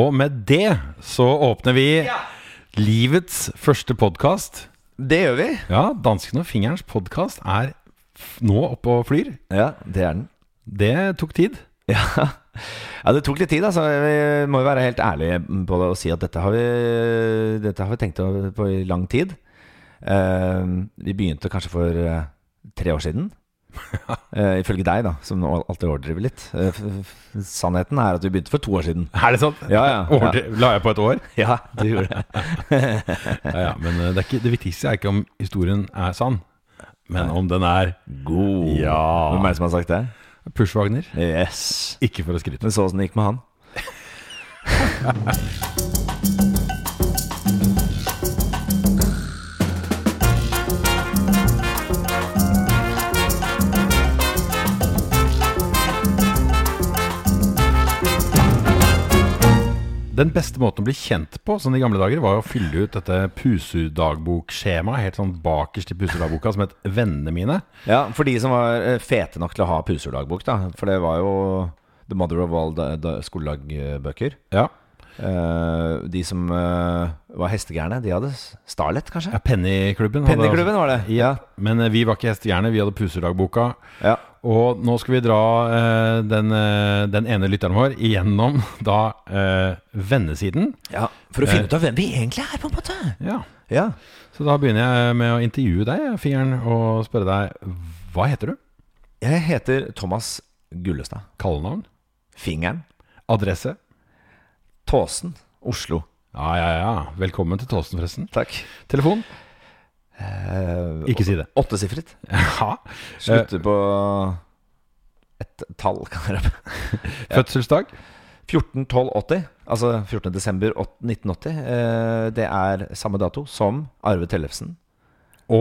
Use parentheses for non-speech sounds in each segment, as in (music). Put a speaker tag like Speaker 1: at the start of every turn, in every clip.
Speaker 1: Og med det så åpner vi livets første podkast.
Speaker 2: Det gjør vi.
Speaker 1: Ja, Dansken og fingerens podkast er f- nå oppe og flyr.
Speaker 2: Ja, det er den. (laughs)
Speaker 1: Det tok tid.
Speaker 2: Ja. ja, det tok litt tid, altså. Vi må jo være helt ærlige på det og si at dette har vi, dette har vi tenkt på i lang tid. Eh, vi begynte kanskje for eh, tre år (laughs) siden. Eh, ifølge deg, da, som nå alltid overdriver litt. Eh, f- f- sannheten er at vi begynte for to år siden.
Speaker 1: Er det sant?
Speaker 2: Ja, (laughs) ja, ja.
Speaker 1: Overdri- La jeg på et år?
Speaker 2: Ja, du gjorde det.
Speaker 1: Ja, ja, men eh, det, er ikke, det viktigste er ikke om historien er sann, men om den er
Speaker 2: God.
Speaker 1: Ja.
Speaker 2: Hvem er det som har sagt det?
Speaker 1: Pushwagner.
Speaker 2: Yes.
Speaker 1: Ikke for å skryte.
Speaker 2: Men så åssen det gikk med han.
Speaker 1: Den beste måten å bli kjent på som de gamle dager, var jo å fylle ut dette puserdagboksskjemaet helt sånn bakerst i puserdagboka, som het Vennene mine.
Speaker 2: Ja, for de som var eh, fete nok til å ha puserdagbok, da. For det var jo The Mother of All da- da- skoledagbøker.
Speaker 1: Ja.
Speaker 2: Eh, de som eh, var hestegærne, de hadde s- Starlet, kanskje?
Speaker 1: ja Pennyklubben. hadde
Speaker 2: Pennyklubben var det. Ja.
Speaker 1: også- Men eh, vi var ikke hestegjerne, vi hadde puserdagboka.
Speaker 2: ja.
Speaker 1: Og nå skal vi dra eh, den, eh, den ene lytteren vår igjennom (laughs) da eh, vennesiden.
Speaker 2: ja. For å finne ut av hvem vi egentlig er, på en måte.
Speaker 1: Ja.
Speaker 2: Eh. Ja.
Speaker 1: Så da begynner jeg eh, med å intervjue deg, eh, fingeren, og spørre deg hva heter du?
Speaker 2: Jeg heter Thomas Gullestad.
Speaker 1: Kallenavn?
Speaker 2: Fingeren.
Speaker 1: Adresse?
Speaker 2: Tåsen. Oslo.
Speaker 1: Ja, ja, ja. Velkommen til Tåsen, forresten.
Speaker 2: Takk.
Speaker 1: Telefon?
Speaker 2: Uh,
Speaker 1: Ikke si det. (laughs)
Speaker 2: Åttesifret.
Speaker 1: Ja. Eh,
Speaker 2: Slutter på et tall, kan det være.
Speaker 1: Fødselsdag?
Speaker 2: 14-12-80, altså 14. desember åt- 1980, eh, det er samme dato som Arve Tellefsen.
Speaker 1: Og,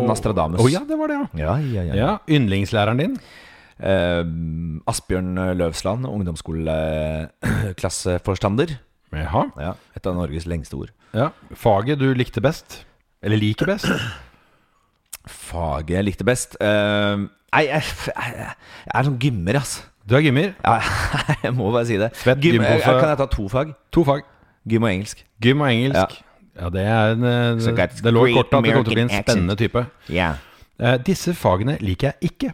Speaker 2: Og Nostradamus.
Speaker 1: Å ja, det var det, ja.
Speaker 2: Ja, ja, ja.
Speaker 1: ja. Yndlingslæreren din?
Speaker 2: Eh, Asbjørn Løvsland, ungdomsskoleklasseforstander.
Speaker 1: Jaha.
Speaker 2: Ja, et av Norges lengste ord.
Speaker 1: Ja. Faget du likte best? Eller liker best?
Speaker 2: Faget jeg likte best eh, Nei, jeg, jeg jeg er sånn gymmer, ass.
Speaker 1: Du er gymmer.
Speaker 2: Ja, (laughs) jeg må bare si det.
Speaker 1: Svett
Speaker 2: Gym, jeg,
Speaker 1: gympose.
Speaker 2: kan jeg ta to fag?
Speaker 1: To fag.
Speaker 2: Gym og engelsk.
Speaker 1: Gym og engelsk. Ja, det er en eh,
Speaker 2: So that's
Speaker 1: Det lå i
Speaker 2: great
Speaker 1: kortet at det kom til å bli en
Speaker 2: American accent.
Speaker 1: spennende type.
Speaker 2: Yeah.
Speaker 1: Eh, disse fagene liker jeg ikke.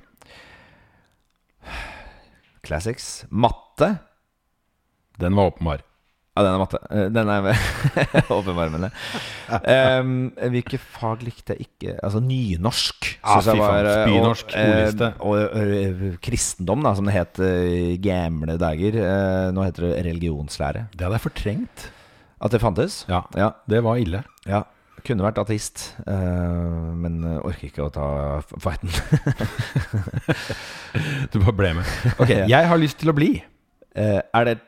Speaker 2: Classics. Matte.
Speaker 1: Den var åpenbar.
Speaker 2: Ja, den er matte. Eh, Den (laughs) er åpenbarmende. Um, hvilke fag likte jeg ikke? Altså nynorsk.
Speaker 1: Ah,
Speaker 2: synes jeg
Speaker 1: fy faen.
Speaker 2: eh,
Speaker 1: Spynorsk,
Speaker 2: og, eh,
Speaker 1: ordliste.
Speaker 2: Og, eh, kristendom, da, som det het eh, i gamle dager. Eh, nå heter det religionslære.
Speaker 1: Det hadde jeg fortrengt.
Speaker 2: At det fantes?
Speaker 1: Ja,
Speaker 2: Ja.
Speaker 1: det var ille. (laughs)
Speaker 2: ja. Kunne vært ateist, eh, men eh, orker ikke å ta f- fighten.
Speaker 1: Du bare ble med. (laughs) Ok,
Speaker 2: Ja.
Speaker 1: Jeg har lyst til å bli.
Speaker 2: (laughs) Eh, er det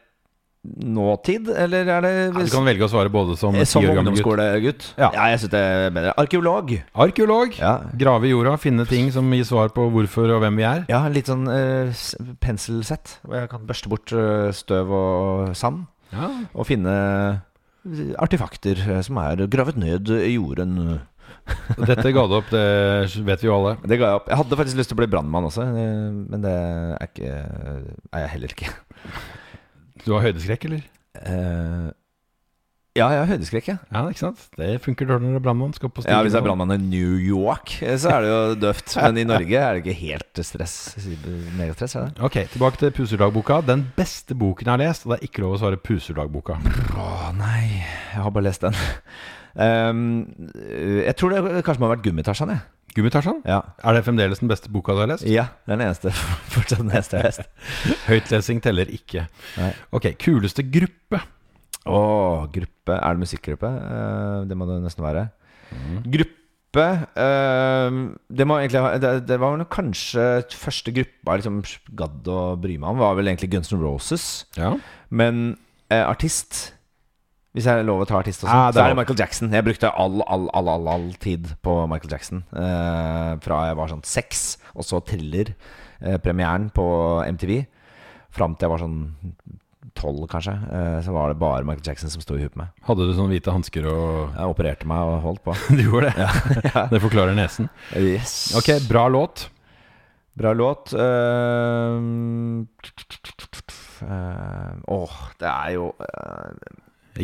Speaker 2: nåtid, eller er det
Speaker 1: Du kan velge å svare både som
Speaker 2: Eh, Som
Speaker 1: ti år gammel gutt.
Speaker 2: ungdomsskolegutt?
Speaker 1: Ja.
Speaker 2: ja, jeg syns det er bedre. Arkeolog.
Speaker 1: Arkeolog.
Speaker 2: Ja,
Speaker 1: Grave i jorda, finne ting som gir svar på hvorfor og hvem vi er.
Speaker 2: Ja, litt sånn eh, s- penselsett. Hvor jeg kan børste bort eh, støv og sand.
Speaker 1: Ja,
Speaker 2: Og finne artefakter eh, som er gravet ned i jorden.
Speaker 1: Dette ga du opp, det vet vi jo alle.
Speaker 2: Det ga jeg opp. Jeg hadde faktisk lyst til å bli brannmann også, eh, men det er, ikke, er jeg heller ikke.
Speaker 1: Du har høydeskrekk, eller?
Speaker 2: Eh, ja, jeg har høydeskrekk, jeg.
Speaker 1: Ja, ikke sant? Det funker dårlig når brannmann skal på
Speaker 2: Ja, hvis jeg er
Speaker 1: og sånn.
Speaker 2: brannmann i New York, eh, så er det jo (laughs) døvt. Men i Norge er det ikke helt stress. Megastress, er det?
Speaker 1: Ok, tilbake til Puserdagboka. Den beste boken jeg har lest, og det er ikke lov å svare Puserdagboka.
Speaker 2: Å nei, jeg har bare lest den. (laughs) Eh, jeg tror det kanskje må ha vært Gummitasjan, jeg.
Speaker 1: Gummitarsan?
Speaker 2: Ja.
Speaker 1: Er det fremdeles den beste boka du har lest?
Speaker 2: Ja, det er den eneste. (laughs) Fortsatt den eneste jeg har lest.
Speaker 1: Høytlesing teller ikke.
Speaker 2: Nei.
Speaker 1: Ok, kuleste gruppe.
Speaker 2: Å, gruppe. Er det musikkgruppe? Eh, det må det nesten være. Mm. Gruppe eh, Det må egentlig ha Det, det var vel kanskje første gruppa jeg liksom gadd å bry meg om, var vel egentlig Guns N' Roses.
Speaker 1: Ja.
Speaker 2: Men eh, artist Hvis jeg er lov å ta artist også,
Speaker 1: Ja, det er
Speaker 2: så er det
Speaker 1: lov.
Speaker 2: Michael Jackson. Jeg brukte all, all, all, all, all tid på Michael Jackson. eh, fra jeg var sånn seks, og så Thriller-premieren på MTV. Fram til jeg var sånn tolv, kanskje. eh, så var det bare Michael Jackson som sto i huet på meg.
Speaker 1: Hadde du sånne hvite hansker og
Speaker 2: Jeg opererte meg og holdt på.
Speaker 1: (laughs) Du gjorde det? (laughs) Det forklarer nesen.
Speaker 2: Yes.
Speaker 1: Ok, bra låt.
Speaker 2: Bra låt. eh, Eh, Åh, det er jo eh,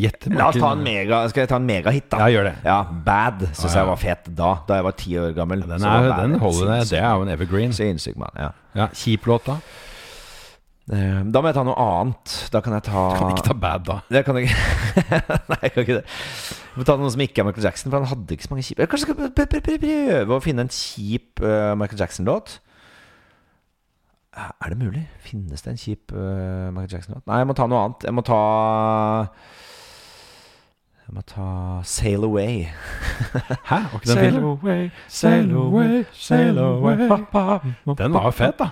Speaker 1: Gjett.
Speaker 2: La oss
Speaker 1: Martin.
Speaker 2: ta en mega Skal jeg ta en megahit, da?
Speaker 1: Ja, gjør det.
Speaker 2: Ja, Bad
Speaker 1: Ja,
Speaker 2: syns
Speaker 1: ja.
Speaker 2: jeg var fet da, da jeg var ti år gammel.
Speaker 1: Den,
Speaker 2: så
Speaker 1: er,
Speaker 2: var Bad
Speaker 1: den
Speaker 2: en
Speaker 1: holder det.
Speaker 2: sinnssyk-
Speaker 1: Det er jo en evergreen.
Speaker 2: Sinnssyk mann. Ja.
Speaker 1: Ja, Kjip låt, da.
Speaker 2: Eh, Da må jeg ta noe annet. Da kan jeg ta
Speaker 1: Kan ikke ta bad, da.
Speaker 2: Det kan jeg ikke. (laughs) Nei, jeg kan ikke det. Jeg må ta noen som ikke er Michael Jackson, for han hadde ikke så mange kjipe Jeg Kanskje skal pr- pr- pr- prøve å finne en kjip eh, Michael Jackson-låt? Er det mulig? Finnes det en kjip eh, Michael Jackson-låt? Nei, jeg må ta noe annet. Jeg må ta Jeg må ta Sail Away.
Speaker 1: Hæ? Var ikke den fin?
Speaker 2: away, sail away, sail away.
Speaker 1: Den var jo fet, da.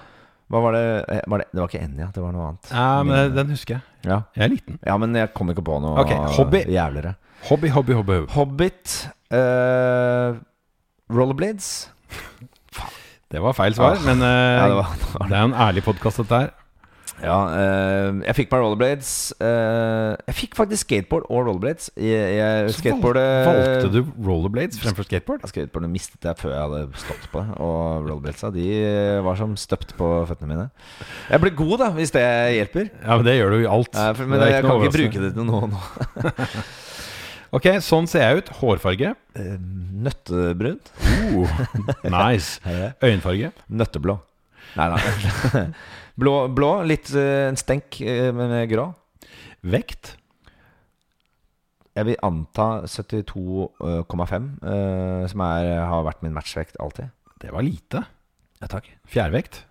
Speaker 2: Hva var det? eh, Var det? Det var ikke Enja, det var noe annet.
Speaker 1: Ja, men den husker jeg.
Speaker 2: Ja.
Speaker 1: Jeg er liten.
Speaker 2: ja, men jeg kom ikke på noe
Speaker 1: Ok, hobby.
Speaker 2: jævligere.
Speaker 1: Hobby, hobby, hobby. hobby.
Speaker 2: Hobbit eh, Rollerblades
Speaker 1: Det var feil svar,
Speaker 2: Ah,
Speaker 1: men eh,
Speaker 2: Ja, det var
Speaker 1: det er jo en ærlig podkast, dette her.
Speaker 2: ja, eh, jeg fikk meg rollerblades. eh, jeg fikk faktisk skateboard og rollerblades. Jeg, jeg,
Speaker 1: Så
Speaker 2: skateboardet
Speaker 1: Valgte du rollerblades fremfor skateboard?
Speaker 2: Ja, Skateboardet mistet jeg før jeg hadde stått på det. Og rollerbladesa de var som støpt på føttene mine. Jeg ble god, da, hvis det hjelper.
Speaker 1: Ja, men Det gjør du i alt.
Speaker 2: Eh, for, men
Speaker 1: Det er
Speaker 2: jeg
Speaker 1: ikke noe
Speaker 2: kan ikke bruke
Speaker 1: overraskende.
Speaker 2: det til noe nå.
Speaker 1: Ok, sånn ser jeg ut. Hårfarge.
Speaker 2: Eh, Nøttebrunt?
Speaker 1: (laughs) Oh, nice.
Speaker 2: Er det det?
Speaker 1: Øyenfarge.
Speaker 2: Nøtteblå. Nei, nei. (laughs) blå, blå, litt eh, en stenk, eh, men eh, grå.
Speaker 1: Vekt.
Speaker 2: Jeg vil anta 72,5, eh, som er, har vært min matchvekt alltid.
Speaker 1: Det var lite.
Speaker 2: Ja, takk.
Speaker 1: Fjærvekt.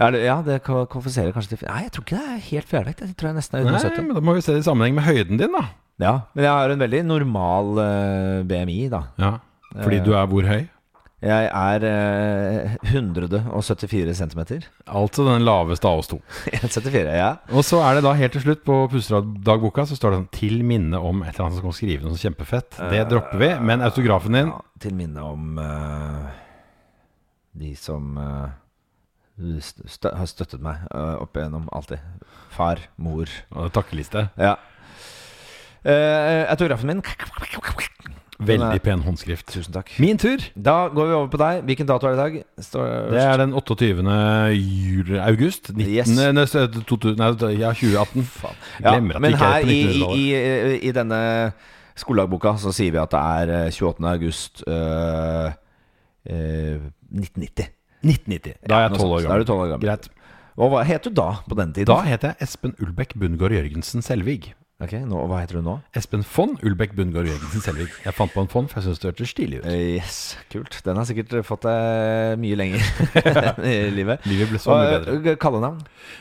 Speaker 2: Ja, det, ja, det ka- kvalifiserer kanskje til Nei, jeg tror ikke det er helt fjærvekt. Jeg tror jeg nesten er
Speaker 1: Nei,
Speaker 2: under 70.
Speaker 1: men Da må vi se det i sammenheng med høyden din, da.
Speaker 2: Ja, men jeg har en veldig normal eh, BMI, da.
Speaker 1: Ja, Fordi
Speaker 2: Eh,
Speaker 1: du er hvor høy?
Speaker 2: Jeg er eh, 174 (laughs) cm.
Speaker 1: Altså den laveste av oss to.
Speaker 2: 174, ja.
Speaker 1: Og så er det da helt til slutt på Pusterad-dagboka så står det sånn 'til minne om et eller annet som skal skrive noe sånn kjempefett'. Det dropper vi, men autografen din
Speaker 2: ja. Til minne om eh, de som eh, st stø- har støttet meg eh, opp igjennom alltid. Far, mor.
Speaker 1: og Takkeliste.
Speaker 2: Ja. Eh, autografen min
Speaker 1: Veldig pen håndskrift.
Speaker 2: Tusen takk.
Speaker 1: Min tur.
Speaker 2: Da går vi over på deg. Hvilken dato er det i dag? Står-
Speaker 1: Det er den 28. juli, august 19,
Speaker 2: Yes.
Speaker 1: nei, så- 2000, nei, ja, 2018. Faen.
Speaker 2: ja,
Speaker 1: Glemmer at vi
Speaker 2: men
Speaker 1: ikke er
Speaker 2: her
Speaker 1: på
Speaker 2: i, i,
Speaker 1: 1900-tallet.
Speaker 2: i, i denne skoledagboka så sier vi at det er eh, 28. august eh, eh, 1990.
Speaker 1: 1990. Da er
Speaker 2: Noe
Speaker 1: jeg 12 år
Speaker 2: sånt. Da er
Speaker 1: gammel.
Speaker 2: du 12 år gammel.
Speaker 1: Greit.
Speaker 2: Og hva het du da, på den tiden?
Speaker 1: Da heter jeg Espen Ulbekk Bundgaard Jørgensen Selvig.
Speaker 2: Ok, nå, Hva heter du nå?
Speaker 1: Espen Fond Ulbekk Bundgaard Jørgensen Selvig. Jeg fant på en fond, for jeg syns det hørtes stilig ut.
Speaker 2: Eh, yes, kult. Den har sikkert eh, fått deg mye (laughs) lenger i livet.
Speaker 1: Livet ble så
Speaker 2: Og
Speaker 1: mye bedre.
Speaker 2: eh, kallenavn?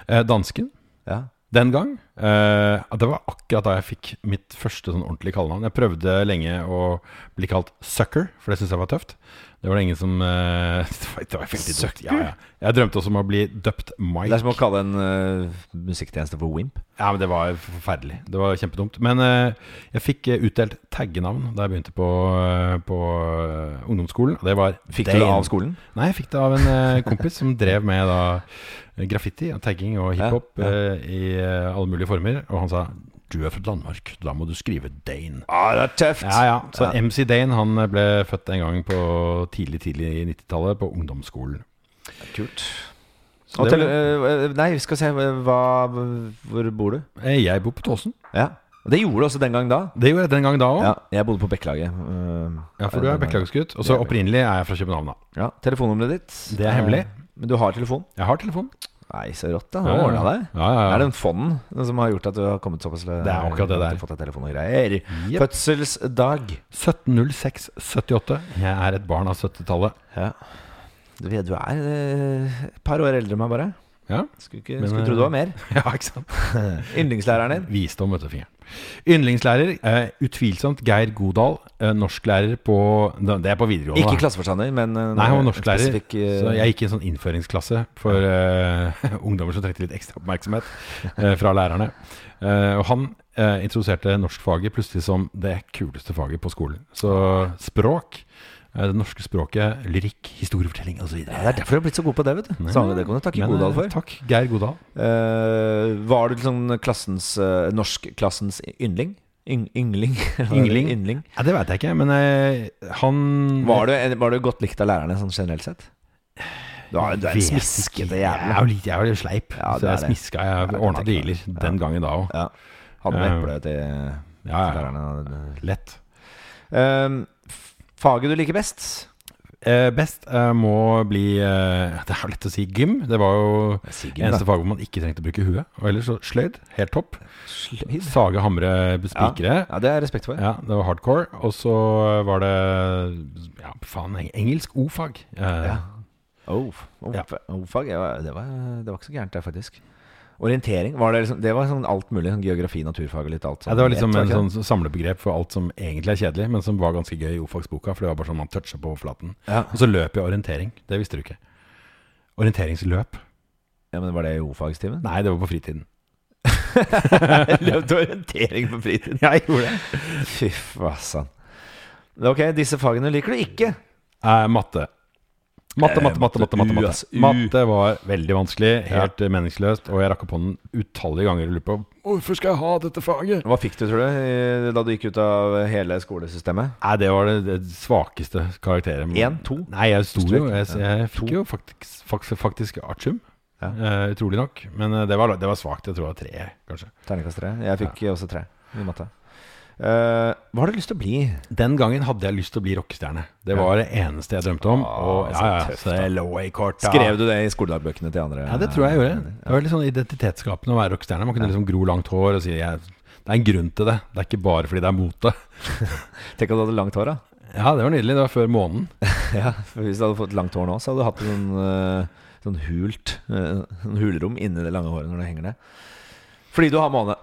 Speaker 1: Eh, Dansken.
Speaker 2: Ja.
Speaker 1: Den gang. Eh, det var akkurat da jeg fikk mitt første sånn ordentlige kallenavn. Jeg prøvde lenge å bli kalt Sucker, for det syntes jeg var tøft. Det var det ingen som eh, (laughs) det var, det var veldig dumt. Ja, ja. Jeg drømte også om å bli døpt Mike.
Speaker 2: Det er som å kalle en eh, musikktjeneste for Wimp.
Speaker 1: Ja, men Det var forferdelig. Det var kjempedumt. Men eh, jeg fikk eh, utdelt taggenavn da jeg begynte på, eh, på eh, ungdomsskolen. Og det var
Speaker 2: Fikk du det av skolen?
Speaker 1: Nei, jeg fikk det av en eh, kompis som drev med da eh, graffiti og tagging og hiphop
Speaker 2: Ja, ja.
Speaker 1: eh, i eh, alle mulige former. Og han sa 'Du er fra Danmark, da må du skrive Dane'.
Speaker 2: Ah, det er tøft!
Speaker 1: Ja, ja. Så
Speaker 2: Ja.
Speaker 1: MC Dane han eh, ble født en gang på tidlig, tidlig i 90-tallet, på ungdomsskolen.
Speaker 2: Kult.
Speaker 1: Så
Speaker 2: Og
Speaker 1: det
Speaker 2: til,
Speaker 1: var-
Speaker 2: øh, øh, nei, vi skal se øh, hva, Hvor bor du?
Speaker 1: Eh, jeg bor på Tåsen.
Speaker 2: Ja. Og det gjorde du også den gang da.
Speaker 1: Det gjorde jeg den gang da òg. Ja.
Speaker 2: Ja, jeg bodde på Bekkelaget. øh,
Speaker 1: for du er
Speaker 2: den gangen.
Speaker 1: beklagesgutt. Og
Speaker 2: Jeg
Speaker 1: så
Speaker 2: er
Speaker 1: opprinnelig er jeg fra København, da.
Speaker 2: Ja, Telefonnummeret ditt.
Speaker 1: Det er hemmelig.
Speaker 2: Eh, Men du har telefon?
Speaker 1: Jeg har telefon.
Speaker 2: Nei, så rått, da.
Speaker 1: Ja,
Speaker 2: Har
Speaker 1: ja,
Speaker 2: ordna
Speaker 1: ja.
Speaker 2: deg.
Speaker 1: Ja, ja, ja.
Speaker 2: Er det en fond den som har gjort at du har kommet såpass Det
Speaker 1: er akkurat det der.
Speaker 2: Fått deg telefon og greier.
Speaker 1: Jep.
Speaker 2: Fødselsdag.
Speaker 1: 170678. Jeg er et barn av 70-tallet.
Speaker 2: Ja. Du, vet, du er øh, et par år eldre enn meg, bare.
Speaker 1: Ja.
Speaker 2: Skulle, ikke,
Speaker 1: Men,
Speaker 2: skulle
Speaker 1: øh,
Speaker 2: tro du var
Speaker 1: (laughs)
Speaker 2: mer.
Speaker 1: (laughs) ja, ikke sant?
Speaker 2: Yndlingslæreren din.
Speaker 1: Visdom vet du, fingeren. Yndlingslærer, eh, utvilsomt Geir Godal. Eh, norsklærer på Det er på videregående.
Speaker 2: Ikke
Speaker 1: da.
Speaker 2: klasseforstander, men øh,
Speaker 1: Nei, han var
Speaker 2: en
Speaker 1: norsklærer.
Speaker 2: spesifikk, øh,
Speaker 1: Så jeg gikk i en sånn innføringsklasse for eh, (laughs) ungdommer som trengte litt ekstra oppmerksomhet eh, fra lærerne. Eh, og han eh, introduserte norskfaget plutselig som det kuleste faget på skolen. Så språk, eh, det norske språket, lyrikk, historiefortelling osv.
Speaker 2: Ja, det er derfor du har blitt så god på det, vet du.
Speaker 1: Nei, eh,
Speaker 2: Savner det kan du takke Godal for.
Speaker 1: Takk, Geir Godal.
Speaker 2: Eh, var du liksom klassens eh, norskklassens yndling? Yng, yngling? (laughs)
Speaker 1: Yngling.
Speaker 2: yngling.
Speaker 1: Ja, det veit jeg ikke, men eh, han
Speaker 2: Var, du, var du godt likt av lærerne sånn generelt sett? Du, har, du er en
Speaker 1: Vet
Speaker 2: smiskete
Speaker 1: ikke. Jeg
Speaker 2: jævel.
Speaker 1: er jo litt, jeg er jo sleip.
Speaker 2: Ja, du
Speaker 1: så jeg
Speaker 2: er det.
Speaker 1: smiska. Jeg
Speaker 2: kan
Speaker 1: ordna
Speaker 2: tenke meg
Speaker 1: dealer
Speaker 2: det.
Speaker 1: den gangen da òg.
Speaker 2: Ja. Hadde med
Speaker 1: Eh,
Speaker 2: eple til til
Speaker 1: Ja, ja,
Speaker 2: lærerne.
Speaker 1: lett.
Speaker 2: Ehm, f- faget du liker best?
Speaker 1: Eh, best eh, må bli eh, (laughs) Det er jo lett å si gym. Det var jo
Speaker 2: Eneste
Speaker 1: eneste fag hvor man ikke trengte å bruke huet. Og ellers så sløyd. Helt topp.
Speaker 2: Sløyd?
Speaker 1: Sage, hamre, spikre.
Speaker 2: Ja, det har jeg respekt for.
Speaker 1: Ja, det var hardcore. Og så var det ja, faen, eng- engelsk o-fag. Eh,
Speaker 2: Ja. Oh, f- oh,
Speaker 1: Ja.
Speaker 2: f- oh, fag, ja, det, var, det var ikke så gærent der, faktisk. Orientering, var det, liksom, det var sånn alt mulig? Sånn geografi, naturfag og litt alt sånn.
Speaker 1: Ja, det var liksom
Speaker 2: ett,
Speaker 1: en
Speaker 2: ikke
Speaker 1: sånn samlebegrep for alt som egentlig er kjedelig, men som var ganske gøy i o-fagsboka. For det var bare sånn man toucha på overflaten.
Speaker 2: det? ja.
Speaker 1: Og så løp jeg orientering. Det visste du ikke. Orienteringsløp?
Speaker 2: ja, men var det i (laughs) O-fagstimen?
Speaker 1: Nei, det var på fritiden.
Speaker 2: Løp til orientering på fritiden?
Speaker 1: Ja, (laughs) jeg gjorde det.
Speaker 2: Fy fasan. Ok, disse fagene liker du ikke.
Speaker 1: Eh, matte. Matte,
Speaker 2: Eh,
Speaker 1: matte, matte. matte, matte,
Speaker 2: U,
Speaker 1: matte.
Speaker 2: ass, U.
Speaker 1: matte var veldig vanskelig, helt eh, meningsløst, og jeg rakk opp hånden utallige ganger og lurte på hvorfor skal jeg ha dette faget?
Speaker 2: Hva fikk du, tror du, i- da du gikk ut av hele skolesystemet?
Speaker 1: Nei, det var det, det svakeste karakteret.
Speaker 2: Én, to?
Speaker 1: Nei, jeg sto jo. Jeg,
Speaker 2: Strek.
Speaker 1: jeg
Speaker 2: To.
Speaker 1: fikk jo faktisk, faktisk, faktisk artium.
Speaker 2: Ja.
Speaker 1: Eh, utrolig nok. Men eh, det var, det var svakt. Jeg tror det var tre, kanskje.
Speaker 2: Terningkast tre. Jeg fikk også tre i matte. Eh, hva har du lyst til å bli?
Speaker 1: Den gangen hadde jeg lyst til å bli rockestjerne. Det
Speaker 2: Ja.
Speaker 1: var det eneste jeg drømte om.
Speaker 2: Ah,
Speaker 1: Og,
Speaker 2: så
Speaker 1: ja, ja,
Speaker 2: tøft,
Speaker 1: så jeg lå i korta.
Speaker 2: Skrev du det i skoledagbøkene til andre?
Speaker 1: Ja, det tror jeg jeg gjorde. Det var litt sånn identitetsskapende å være rockestjerne. Man kunne liksom gro langt hår og si jeg, Det er en grunn til det. Det er ikke bare fordi det er mote.
Speaker 2: Tenk at du hadde langt hår, (laughs) da.
Speaker 1: Ja, det var nydelig. Det var før månen.
Speaker 2: Ja, for Hvis du hadde fått langt hår nå, så hadde du hatt en sånn, eh, sånn hult eh, sånn hulrom inni det lange håret når det henger ned. Fordi du har måne.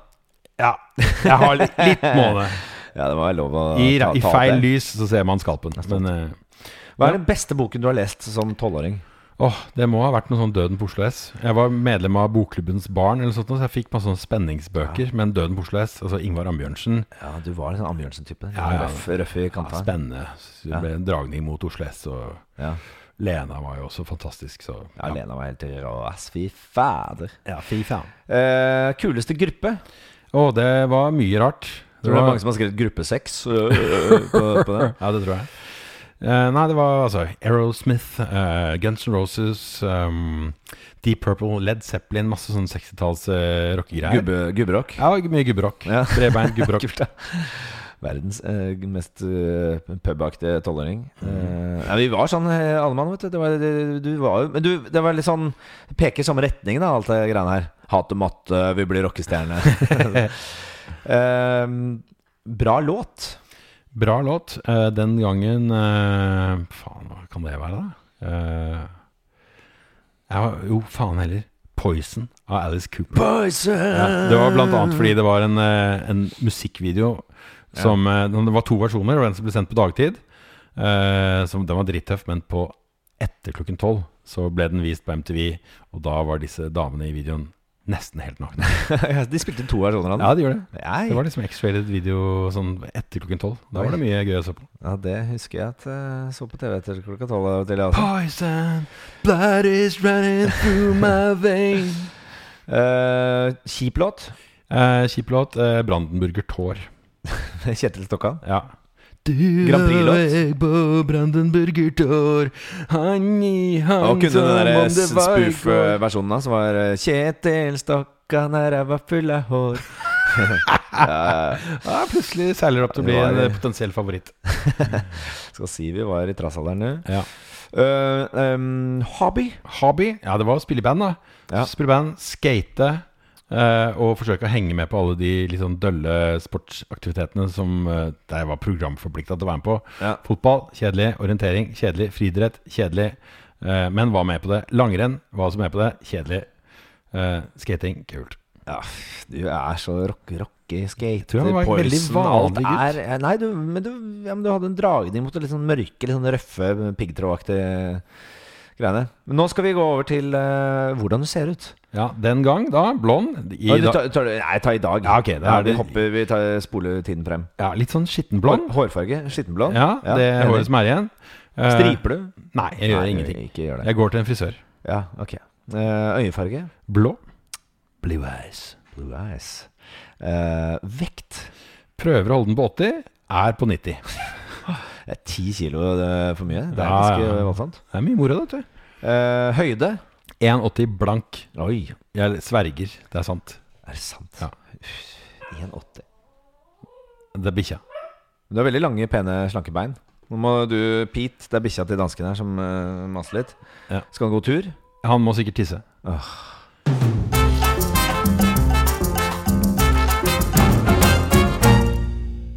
Speaker 1: Ja. Jeg har litt, litt måne.
Speaker 2: (laughs) Ja, det var lov å
Speaker 1: I,
Speaker 2: ta,
Speaker 1: I
Speaker 2: ta opp
Speaker 1: feil
Speaker 2: det.
Speaker 1: lys så ser man skalpen. Men eh,
Speaker 2: Hva er den beste boken du har lest som tolvåring?
Speaker 1: eh, Åh, det må ha vært noe sånn Døden på Oslo S. Jeg var medlem av Bokklubbens Barn, eller sånt, nå, så jeg fikk masse sånne spenningsbøker. Men Døden på Oslo S, altså Ingvar Ambjørnsen
Speaker 2: Ja, du var en sånn Ambjørnsen-type.
Speaker 1: Ja, ja.
Speaker 2: Røff, røff i
Speaker 1: ja,
Speaker 2: kanta.
Speaker 1: Spennende. Så det ble en dragning mot Oslo S. Og
Speaker 2: Ja,
Speaker 1: Lena var jo også fantastisk, så
Speaker 2: ja, Lena var helt rå. Ass, fy fader.
Speaker 1: ja fy faen.
Speaker 2: Eh, kuleste gruppe?
Speaker 1: Å, det var mye rart.
Speaker 2: Tror du det er mange som har skrevet gruppe sex øh, øh, (laughs) øh, på, på det?
Speaker 1: Ja, det tror jeg. Eh, nei, det var altså Aerosmith, eh, Guns N' Roses, ehm, Deep Purple, Led Zeppelin, masse sånne 60-talls eh, rockegreier.
Speaker 2: Gubbe, gubberock?
Speaker 1: Ja, mye gubberock.
Speaker 2: Ja. (laughs)
Speaker 1: Bredbeint gubberock.
Speaker 2: Kult, da. Verdens eh, mest eh, pubaktige tolvåring. Eh, nei, vi var sånn eh, alle mann, vet du. Det var, det, du var jo Men du, det var litt sånn Peker samme retning, da, alt det greiene her. Hate matte, vi blir (laughs) rockestjerne. eh, bra låt.
Speaker 1: Bra låt. Eh, den gangen eh, Faen, hva kan det være, da? Eh, jeg var, jo, faen heller. 'Poison' av Alice Cooper.
Speaker 2: Poison!
Speaker 1: Ja, det var blant annet fordi det var en, eh, en musikkvideo som eh, Det var to versjoner, og den som ble sendt på dagtid. eh, som, den var drittøff, men på etter klokken tolv så ble den vist på MTV, og da var disse damene i videoen nesten helt nakne.
Speaker 2: (laughs) De spilte to versjoner av den.
Speaker 1: Ja, de gjorde det.
Speaker 2: Nei.
Speaker 1: Det var liksom X-rated video sånn etter klokken tolv. Da var det mye gøy å se på.
Speaker 2: ja, det husker jeg at jeg så på TV etter klokka tolv. av og til, altså.
Speaker 1: Poison, blood is running through my veins.
Speaker 2: Eh, Kjip låt.
Speaker 1: (laughs)
Speaker 2: (laughs)
Speaker 1: Eh, Kjip låt. Eh, Brandenburger Tår.
Speaker 2: Kjetil Stokkan.
Speaker 1: Ja. Grand
Speaker 2: Prix-låt.
Speaker 1: på Brandenburger Tår. Han i han
Speaker 2: Og kunne
Speaker 1: som om
Speaker 2: den der eh,
Speaker 1: det var i går.
Speaker 2: spoof-versjonen da, som var eh, Kjetil Stokkan er ræva full av hår. (laughs)
Speaker 1: Ja, plutselig seiler det opp til å bli
Speaker 2: Det var-
Speaker 1: en eh, potensiell favoritt.
Speaker 2: Skal si vi var i trassalderen nå.
Speaker 1: Ja.
Speaker 2: Eh, ehm, hobby?
Speaker 1: Hobby? Ja, det var å spille i band, da.
Speaker 2: Ja.
Speaker 1: Spille i band, skate. eh, og forsøke å henge med på alle de litt sånn dølle sportsaktivitetene som eh, jeg var programforplikta til å være med på.
Speaker 2: Ja.
Speaker 1: Fotball kjedelig. Orientering kjedelig. Friidrett kjedelig. Eh, men var med på det. Langrenn var også med på det. Kjedelig. Eh, skating kult.
Speaker 2: Du er så rock, rocky, skate,
Speaker 1: tror han var en veldig vanlig gutt.
Speaker 2: er- eh, Nei, du, men, du, ja, men du hadde en dragning mot det litt sånn mørke, litt sånn røffe, piggtrådaktige greiene. Men nå skal vi gå over til eh, hvordan du ser ut.
Speaker 1: Ja, den gang, da. Blond. I,
Speaker 2: Oi, du
Speaker 1: da,
Speaker 2: tar, tar, nei, ta i dag.
Speaker 1: Ja, ok, det er
Speaker 2: ja, vi
Speaker 1: det-
Speaker 2: hopper, vi tar, spoler tiden frem.
Speaker 1: ja, litt sånn skitten
Speaker 2: Blond?
Speaker 1: blond.
Speaker 2: Hårfarge? Skittenblond?
Speaker 1: sånn. Ja, det
Speaker 2: enig.
Speaker 1: håret som er igjen. Eh,
Speaker 2: Striper du?
Speaker 1: Nei, jeg gjør ingenting.
Speaker 2: Ikke gjør det.
Speaker 1: Jeg går til en frisør.
Speaker 2: Ja, ok. Eh, øyefarge?
Speaker 1: Blå.
Speaker 2: Blue eyes. Blue eyes. Eh, vekt?
Speaker 1: Prøver å holde den på 80. Er på 90.
Speaker 2: Det er ti kilo eh, for mye. Det er
Speaker 1: Ja,
Speaker 2: ganske
Speaker 1: ja.
Speaker 2: voldsomt.
Speaker 1: Det er mye moro, vet du.
Speaker 2: Eh, høyde.
Speaker 1: 1,80 blank.
Speaker 2: Oi,
Speaker 1: Jeg sverger, det er sant.
Speaker 2: er det sant?
Speaker 1: Ja.
Speaker 2: Uff, 1,80.
Speaker 1: Det er bikkja.
Speaker 2: Men Du har veldig lange, pene, slanke bein. Nå må du, Pete, det er bikkja til dansken her som eh, maser litt.
Speaker 1: Ja.
Speaker 2: Skal han gå tur?
Speaker 1: Han må sikkert tisse.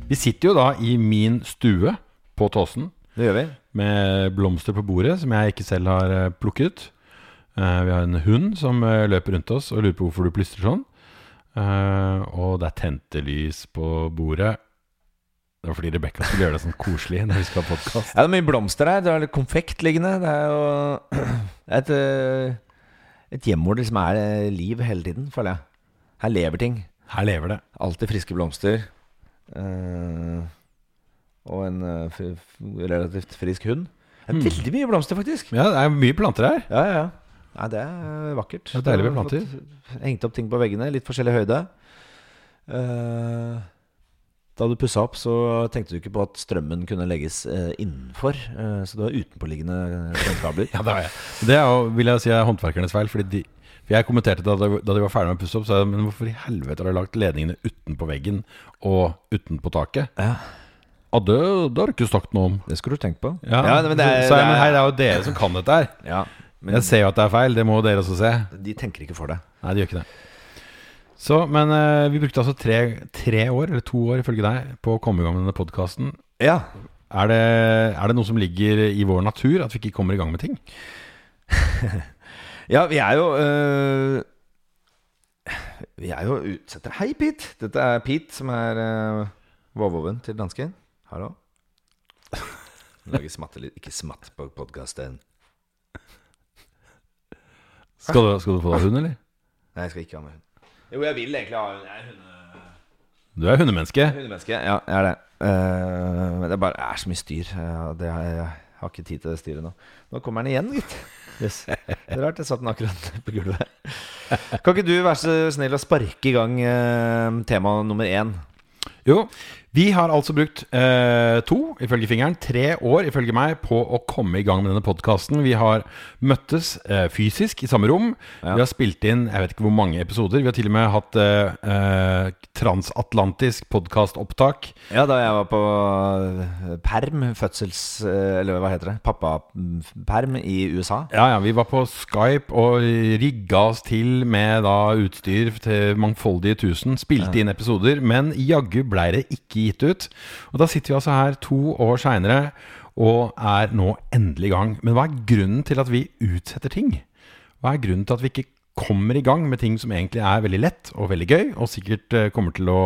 Speaker 1: Vi sitter jo da i min stue på Tåsen
Speaker 2: Det gjør vi.
Speaker 1: med blomster på bordet som jeg ikke selv har eh, plukket. Eh, Vi har en hund som eh, løper rundt oss og lurer på hvorfor du plystrer sånn. Eh, Og det er tente lys på bordet. Det var fordi Rebekka skulle gjøre det sånn koselig når vi skal ha podkast.
Speaker 2: Ja, det er mye blomster her. Det er litt konfekt liggende. Det er jo (clears throat) et, eh, et hjem hvor det liksom er eh, liv hele tiden, føler jeg. Her lever ting.
Speaker 1: Her lever det.
Speaker 2: Alltid friske blomster. eh, og en eh, fri, f- relativt frisk hund. Det er veldig mye blomster, faktisk.
Speaker 1: Ja, det er mye planter her.
Speaker 2: Ja, ja, ja. Nei, det er vakkert.
Speaker 1: Det er deilig med
Speaker 2: Jeg har
Speaker 1: planter.
Speaker 2: fått Hengt opp ting på veggene, litt forskjellig høyde. Eh, da du pussa opp, så tenkte du ikke på at strømmen kunne legges eh, innenfor. eh, så du har utenpåliggende strømkabler.
Speaker 1: (laughs) Ja, det har jeg. Det er, jo- vil jeg si er håndverkernes feil. Fordi de, for jeg kommenterte da, de- da de var ferdig med å pusse opp, så sa jeg men hvorfor i helvete har de lagt ledningene utenpå veggen og utenpå taket?
Speaker 2: Ja.
Speaker 1: Ja, det, det har du ikke sagt noe om.
Speaker 2: Det skulle du tenkt på.
Speaker 1: Ja,
Speaker 2: men det er,
Speaker 1: så, så, jeg, men hei, det er jo dere som kan dette her.
Speaker 2: ja, men
Speaker 1: Jeg ser jo at det er feil, det må dere også se.
Speaker 2: de tenker ikke for deg.
Speaker 1: Nei, de gjør ikke det. Så, men eh, vi brukte altså tre, tre år, eller to år ifølge deg, på å komme i gang med denne podkasten.
Speaker 2: Ja,
Speaker 1: Er, det- er det noe som ligger i vår natur, at vi ikke kommer i gang med ting?
Speaker 2: Ja, vi er jo øh, Vi er jo utsettere Hei, Pete! Dette er Pete, som er øh, vovvoven til dansken. Hallo. Lager smattelyd. Ikke smatt på podkasten.
Speaker 1: Skal du, skal du få deg hund, eller?
Speaker 2: Nei, jeg skal ikke ha med hund. Jo, jeg vil egentlig ha hund. Jeg er hunde,
Speaker 1: Du er hundemenneske.
Speaker 2: hundemenneske. Ja, jeg er det. Eh, men det er bare det er så mye styr. Ja, det har, jeg har ikke tid til det styret nå. Nå kommer den igjen, gitt. Yes. (laughs) Det er rart. Jeg satt den akkurat (laughs) på gulvet. Kan ikke du være så snill å sparke i gang eh, tema nummer én?
Speaker 1: Jo, vi har altså brukt eh, to, ifølge fingeren, tre år, ifølge meg, på å komme i gang med denne podkasten. Vi har møttes eh, fysisk i samme rom. Vi har spilt inn jeg vet ikke hvor mange episoder. Vi har til og med hatt eh, eh, transatlantisk podkastopptak.
Speaker 2: Ja, da jeg var på eh, perm, fødsels... eh, Eller hva heter det? Pappaperm i USA.
Speaker 1: Ja, ja, vi var på Skype og rigga oss til med da utstyr til mangfoldige tusen. Spilte inn episoder, men jaggu blei det ikke gitt ut. Og da sitter vi altså her to år seinere og er nå endelig i gang. Men hva er grunnen til at vi utsetter ting? Hva er grunnen til at vi ikke kommer i gang med ting som egentlig er veldig lett og veldig gøy, og sikkert eh, kommer til å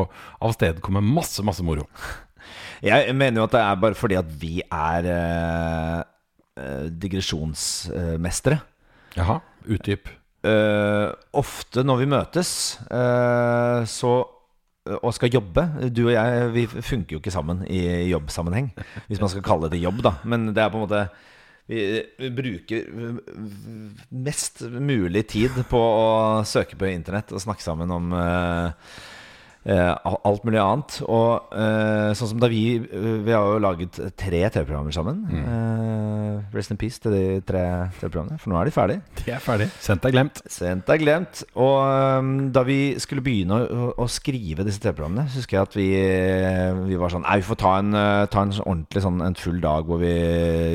Speaker 1: avstedkomme masse, masse moro?
Speaker 2: Jeg mener jo at det er bare fordi at vi er eh, eh, digresjonsmestere.
Speaker 1: Jaha, utdyp.
Speaker 2: Eh, ofte når vi møtes eh, så, eh, og skal jobbe Du og jeg vi funker jo ikke sammen i jobbsammenheng, hvis man skal kalle det jobb, da. Men det er på en måte vi, vi bruker mest mulig tid på å søke på internett og snakke sammen om eh, eh, alt mulig annet. Og eh, sånn som da vi Vi har jo laget tre TV-programmer sammen. Eh, rest in peace til de tre TV-programmene, for nå er de ferdige.
Speaker 1: Det er ferdig. Sendt er glemt.
Speaker 2: Sent er glemt. Og øhm, da vi skulle begynne å, å- å skrive disse TV-programmene, så husker jeg at vi, vi var sånn Nei, vi får ta en, øh, ta en sånn ordentlig sånn en full dag hvor vi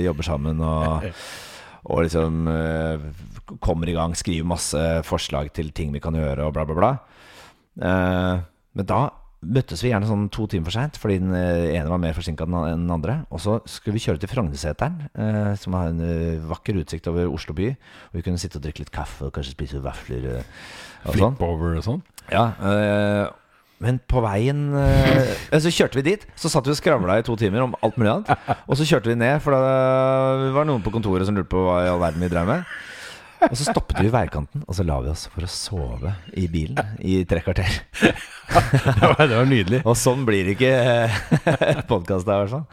Speaker 2: jobber sammen og, og liksom øh, kommer i gang, skriver masse forslag til ting vi kan gjøre, og bla, bla, bla. Eh, men da møttes vi gjerne sånn to timer for seint, fordi den eh, ene var mer forsinka enn den andre. Og så skulle vi kjøre til Frognerseteren, eh, som har en eh, vakker utsikt over Oslo by. Og vi kunne sitte og drikke litt kaffe og kanskje spise vafler eh, og sånn.
Speaker 1: Flip-over og sånn. (laughs)
Speaker 2: Ja, eh, men på veien eh, ja, Så kjørte vi dit. Så satt vi og skravla i to timer om alt mulig annet. Og så kjørte vi ned, for da var det noen på kontoret som lurte på hva i all verden vi drev med. Og så stoppet vi i veikanten, og så la vi oss for å sove i bilen i tre kvarter.
Speaker 1: Det var, det var nydelig.
Speaker 2: Og sånn blir det ikke (laughs) podkast her, i hvert fall.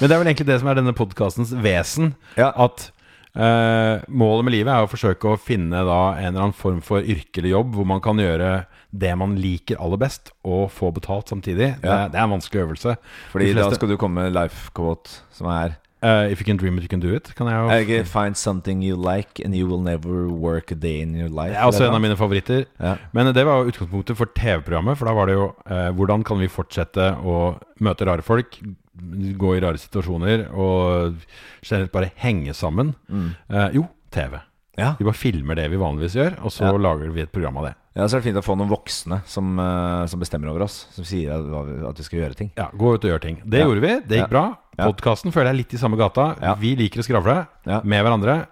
Speaker 1: Men det er vel egentlig det som er denne podkastens vesen.
Speaker 2: Ja.
Speaker 1: At eh, målet med livet er å forsøke å finne da, en eller annen form for yrke eller jobb hvor man kan gjøre det man liker aller best, og få betalt samtidig. Det,
Speaker 2: Ja.
Speaker 1: er- det er en vanskelig øvelse.
Speaker 2: Fordi
Speaker 1: De
Speaker 2: da
Speaker 1: fleste-
Speaker 2: skal du komme med life quote, som er
Speaker 1: Eh, if you can dream it, you can do it. Kan jeg jo
Speaker 2: Er det ikke 'Find something you like and you will never work a day in your life'?
Speaker 1: Det er også
Speaker 2: eller
Speaker 1: en
Speaker 2: noe?
Speaker 1: av mine favoritter.
Speaker 2: Ja.
Speaker 1: Men det var jo utgangspunktet for TV-programmet. For da var det jo eh, hvordan kan vi fortsette å møte rare folk, gå i rare situasjoner og generelt bare henge sammen?
Speaker 2: Mm.
Speaker 1: Eh, jo, TV.
Speaker 2: Ja.
Speaker 1: Vi bare filmer det vi vanligvis gjør, og så
Speaker 2: Ja.
Speaker 1: lager vi et program av det.
Speaker 2: ja, så er det fint å få noen voksne som, eh, som bestemmer over oss. Som sier at, hva vi- at vi skal gjøre ting.
Speaker 1: Ja, Gå ut og gjør ting. Det
Speaker 2: Ja.
Speaker 1: gjorde vi. Det
Speaker 2: Ja.
Speaker 1: gikk bra.
Speaker 2: Ja.
Speaker 1: Podkasten føler jeg er litt i samme gata.
Speaker 2: Ja.
Speaker 1: Vi liker å skravle
Speaker 2: Ja.
Speaker 1: med hverandre,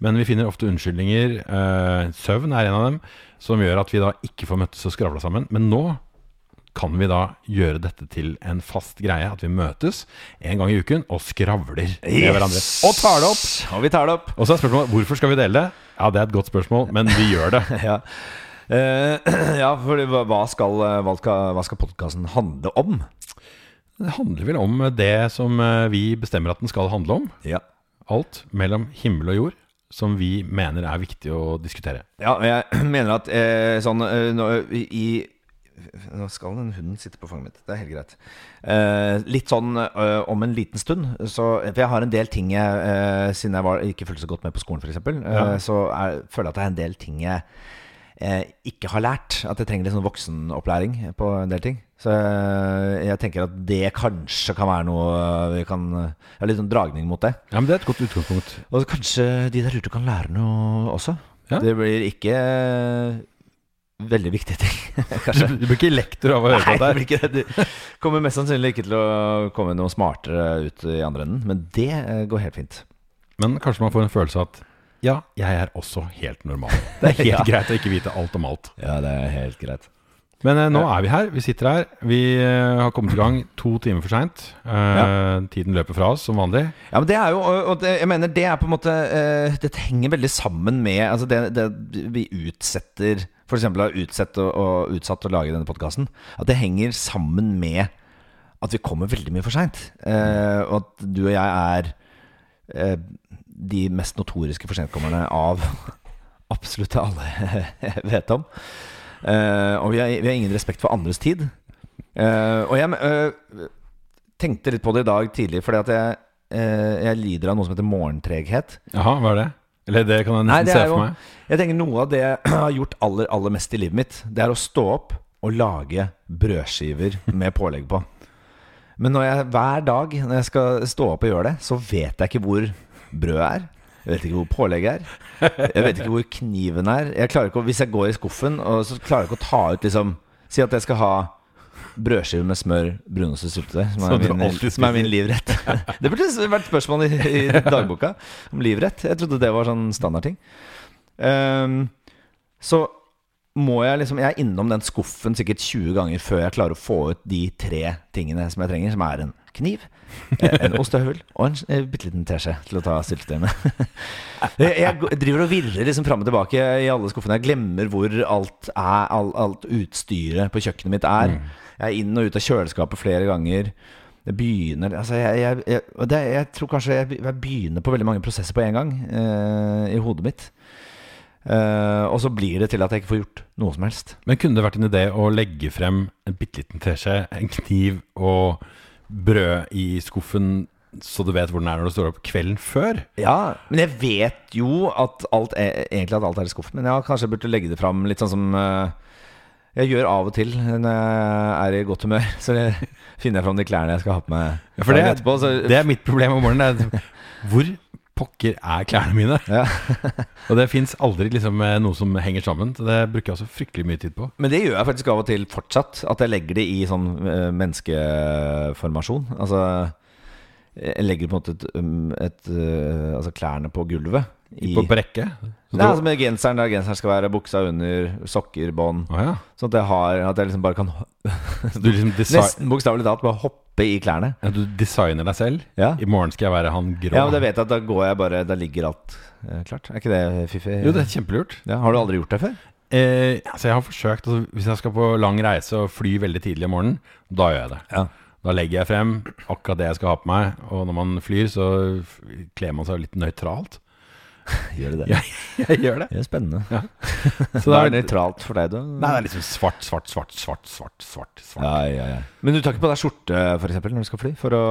Speaker 1: men vi finner ofte unnskyldninger. eh, søvn er en av dem, som gjør at vi da ikke får møttes og skravla sammen. Men nå kan vi da gjøre dette til en fast greie, at vi møtes en gang i uken og skravler med hverandre. Og tar det opp!
Speaker 2: Og vi tar det opp.
Speaker 1: Og så er spørsmålet hvorfor skal vi dele det? Ja, det er et godt spørsmål, men vi gjør det.
Speaker 2: (laughs) Ja, Eh, (clears throat) ja for det- hva- hva skal, eh, hva skal, hva skal podkasten handle om?
Speaker 1: Det handler vel om det som eh, vi bestemmer at den skal handle om.
Speaker 2: Ja.
Speaker 1: alt mellom himmel og jord som vi mener er viktig å diskutere.
Speaker 2: Ja, men jeg (clears throat) mener at eh, sånn eh, nå, i Nå skal den hunden sitte på fanget mitt. Det er helt greit. Eh, litt sånn eh, om en liten stund. Så, for jeg har en del ting jeg eh, Siden jeg var, ikke fulgte så godt med på skolen, f.eks., eh,
Speaker 1: Ja.
Speaker 2: så er, føler jeg at det er en del ting jeg eh, ikke har lært. At jeg trenger litt sånn voksenopplæring på en del ting. Så eh, jeg tenker at det kanskje kan være noe eh, vi kan Jeg har litt sånn dragning mot det.
Speaker 1: Ja, men Det er et godt utgangspunkt.
Speaker 2: Og kanskje de der ute kan lære noe også.
Speaker 1: Ja.
Speaker 2: Det blir ikke eh, veldig viktige ting, (laughs)
Speaker 1: Du,
Speaker 2: kanskje.
Speaker 1: du blir ikke lektor av å høre
Speaker 2: Nei,
Speaker 1: på
Speaker 2: det
Speaker 1: dette.
Speaker 2: blir
Speaker 1: her.
Speaker 2: ikke det. Du kommer mest sannsynlig ikke til å komme noe smartere ut i andre enden, men det eh, går helt fint.
Speaker 1: Men kanskje man får en følelse av at ja, jeg er også helt
Speaker 2: (laughs)
Speaker 1: normal. Det er helt
Speaker 2: Ja.
Speaker 1: greit å ikke vite alt om alt.
Speaker 2: Ja, det er helt greit.
Speaker 1: Men eh, nå er vi her. Vi sitter her. Vi eh, har kommet i gang to timer for seint. Eh, Tiden løper fra oss som vanlig.
Speaker 2: Ja, men det er jo, og og det, jeg mener det er på en måte eh, Dette henger veldig sammen med altså det, det vi utsetter For eksempel har utsett og, og utsatt å lage denne podkasten. At det henger sammen med at vi kommer veldig mye for seint. og at du og jeg er eh, de mest notoriske forsentkommerne av (laughs) absolutt alle (laughs) jeg vet om. Eh, og vi har, vi har ingen respekt for andres tid. Eh, og jeg eh, tenkte litt på det i dag tidlig, fordi at jeg, eh, jeg lider av noe som heter morgentreghet.
Speaker 1: Jaha, hva er det? Eller det kan jeg
Speaker 2: Nei,
Speaker 1: nesten
Speaker 2: det
Speaker 1: se
Speaker 2: er jo-
Speaker 1: for meg.
Speaker 2: Jeg tenker Noe av det (clears throat) jeg har gjort aller, aller mest i livet mitt, det er å stå opp og lage brødskiver med pålegg på. Men når jeg, hver dag når jeg skal stå opp og gjøre det, så vet jeg ikke hvor brødet er. Jeg vet ikke hvor pålegget er. Jeg vet ikke hvor kniven er. Jeg klarer ikke å, hvis jeg går i skuffen, og så klarer jeg ikke å ta ut liksom Si at jeg skal ha brødskive med smør, brunost og syltetøy, som,
Speaker 1: Som
Speaker 2: er
Speaker 1: du
Speaker 2: min-
Speaker 1: alltid
Speaker 2: som er min livrett. (laughs) Det burde vært spørsmål i, i dagboka om livrett. Jeg trodde det var sånn standardting. Ehm, så må jeg liksom Jeg er innom den skuffen sikkert 20 ganger før jeg klarer å få ut de tre tingene som jeg trenger, som er en kniv, eh, en ostehøvel og en eh, bitte liten teskje til å ta syltetøy med. (laughs) Jeg, jeg g- driver og virrer liksom fram og tilbake i alle skuffene. Jeg glemmer hvor alt, er, all, alt utstyret på kjøkkenet mitt er.
Speaker 1: Mm.
Speaker 2: Jeg er inn og ut av kjøleskapet flere ganger. Jeg begynner altså jeg, jeg, jeg, og det, jeg tror kanskje jeg, jeg begynner på veldig mange prosesser på en gang eh, i hodet mitt. Eh, og så blir det til at jeg ikke får gjort noe som helst.
Speaker 1: Men kunne det vært en idé å legge frem en bitte liten teskje, en kniv og brød i skuffen, så du vet hvor den er når du står opp kvelden før?
Speaker 2: Ja, men jeg vet jo at alt er, egentlig at alt er i skuffen. Men ja, kanskje jeg burde legge det fram litt sånn som eh, jeg gjør av og til når jeg er i godt humør. (laughs) Så det- finner jeg fram de klærne jeg skal ha på meg
Speaker 1: Ja, for det,
Speaker 2: dagen etterpå. Så,
Speaker 1: det er mitt problem om morgenen. Det er, hvor pokker er klærne mine?
Speaker 2: Ja.
Speaker 1: (laughs) og det fins aldri liksom, eh, noe som henger sammen. Så det bruker jeg også fryktelig mye tid på.
Speaker 2: Men det gjør jeg faktisk av og til fortsatt. At jeg legger det i sånn eh, menneskeformasjon. Altså jeg legger på en måte et, um, et eh, Altså klærne på gulvet. I,
Speaker 1: På, på rekke. Så
Speaker 2: nei,
Speaker 1: da-
Speaker 2: altså med genseren der genseren skal være, buksa under, sokker, bånd.
Speaker 1: Å ja.
Speaker 2: Sånn at jeg har At jeg liksom bare kan ho-
Speaker 1: Så du liksom desi-
Speaker 2: Nesten bokstavelig talt bare hoppe i klærne.
Speaker 1: ja, du designer deg selv.
Speaker 2: Ja.
Speaker 1: I morgen skal jeg være han grå.
Speaker 2: Ja, men da vet jeg at da går jeg bare Da ligger alt eh, klart. Er ikke det fiffig?
Speaker 1: Jo, det er kjempelurt.
Speaker 2: ja, har du aldri gjort det før?
Speaker 1: Eh, altså jeg har forsøkt altså Hvis jeg skal på lang reise og fly veldig tidlig om morgenen, da gjør jeg det.
Speaker 2: Ja.
Speaker 1: Da legger jeg frem akkurat det jeg skal ha på meg. Og når man flyr, så f- kler man seg litt nøytralt.
Speaker 2: Gjør (laughs) det det?
Speaker 1: Ja. Jeg gjør det.
Speaker 2: Det er spennende.
Speaker 1: Så
Speaker 2: Så
Speaker 1: det er
Speaker 2: da er det
Speaker 1: litt,
Speaker 2: nøytralt for deg, da?
Speaker 1: nei, det er liksom svart, svart, svart, svart, svart. svart, svart.
Speaker 2: Mm. Ja, ja, ja. Men du tar ikke på deg skjorte for eksempel, når du skal fly? For å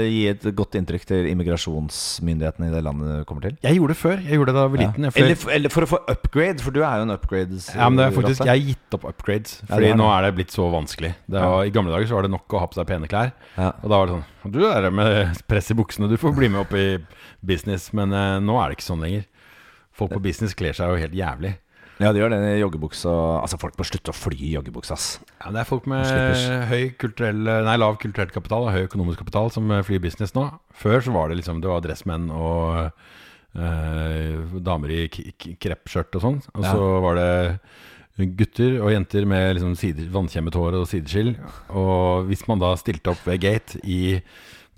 Speaker 2: gi et godt inntrykk til immigrasjonsmyndighetene i det landet du kommer til?
Speaker 1: Jeg gjorde det før. Jeg gjorde det da jeg var
Speaker 2: Ja.
Speaker 1: liten. Jeg fløy-
Speaker 2: Eller, for- eller for å få upgrade, for du er jo en upgrade.
Speaker 1: Ja, men det er faktisk, Jeg har gitt opp upgrades,
Speaker 2: Ja,
Speaker 1: Fordi
Speaker 2: det er
Speaker 1: nå
Speaker 2: det.
Speaker 1: er det blitt så vanskelig. Det var, I gamle dager så var det nok å ha på seg pene klær.
Speaker 2: Ja.
Speaker 1: Og da var det sånn Du er med press i buksene, du får bli med opp i business. Men eh, nå er det ikke sånn lenger. Folk på business kler seg jo helt jævlig.
Speaker 2: Ja, det gjør det. i Joggebukse og Altså, folk må slutte å fly i joggebukse, ass.
Speaker 1: Ja, men det er folk med
Speaker 2: Slippers.
Speaker 1: høy kulturell, nei, lav kulturell kapital og høy økonomisk kapital som eh, flyr business nå. Før så var det liksom Det var dressmenn og eh, damer i k- k- kreppskjørt og sånn. Og
Speaker 2: Ja.
Speaker 1: så var det gutter og jenter med liksom sider, vannkjemmet hår og sideskill. Og hvis man da stilte opp ved gate i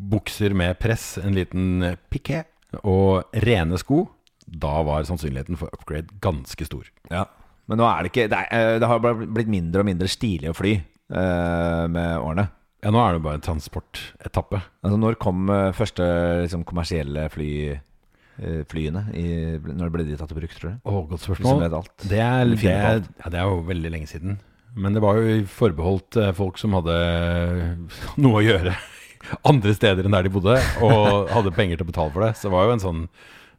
Speaker 1: bukser med press, en liten piké og rene sko, da var sannsynligheten for upgrade ganske stor.
Speaker 2: Ja. Men nå er det ikke Det, er, eh, det har bare blitt mindre og mindre stilig å fly eh, med årene.
Speaker 1: Ja, nå er det jo bare en transportetappe.
Speaker 2: Altså, når kom eh, første liksom, kommersielle fly, eh, flyene? I, når ble de tatt i bruk, tror du?
Speaker 1: Å, godt
Speaker 2: Du som
Speaker 1: spørsmål.
Speaker 2: vet alt.
Speaker 1: Det er,
Speaker 2: Du
Speaker 1: det,
Speaker 2: finner på
Speaker 1: er-
Speaker 2: alt.
Speaker 1: ja, det er jo veldig lenge siden. Men det var jo forbeholdt eh, folk som hadde (laughs) noe å gjøre andre steder enn der de bodde, (laughs) og hadde penger til å betale for det. Så det var jo en sånn